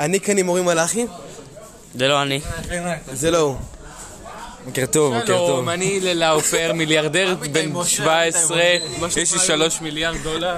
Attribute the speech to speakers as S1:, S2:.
S1: אני כן עם מורים מלאכי?
S2: זה לא אני.
S1: זה לא הוא.
S3: בוקר טוב, בוקר טוב.
S4: שלום, אני ללאופר, מיליארדר בן 17, יש לי 3 מיליארד דולר.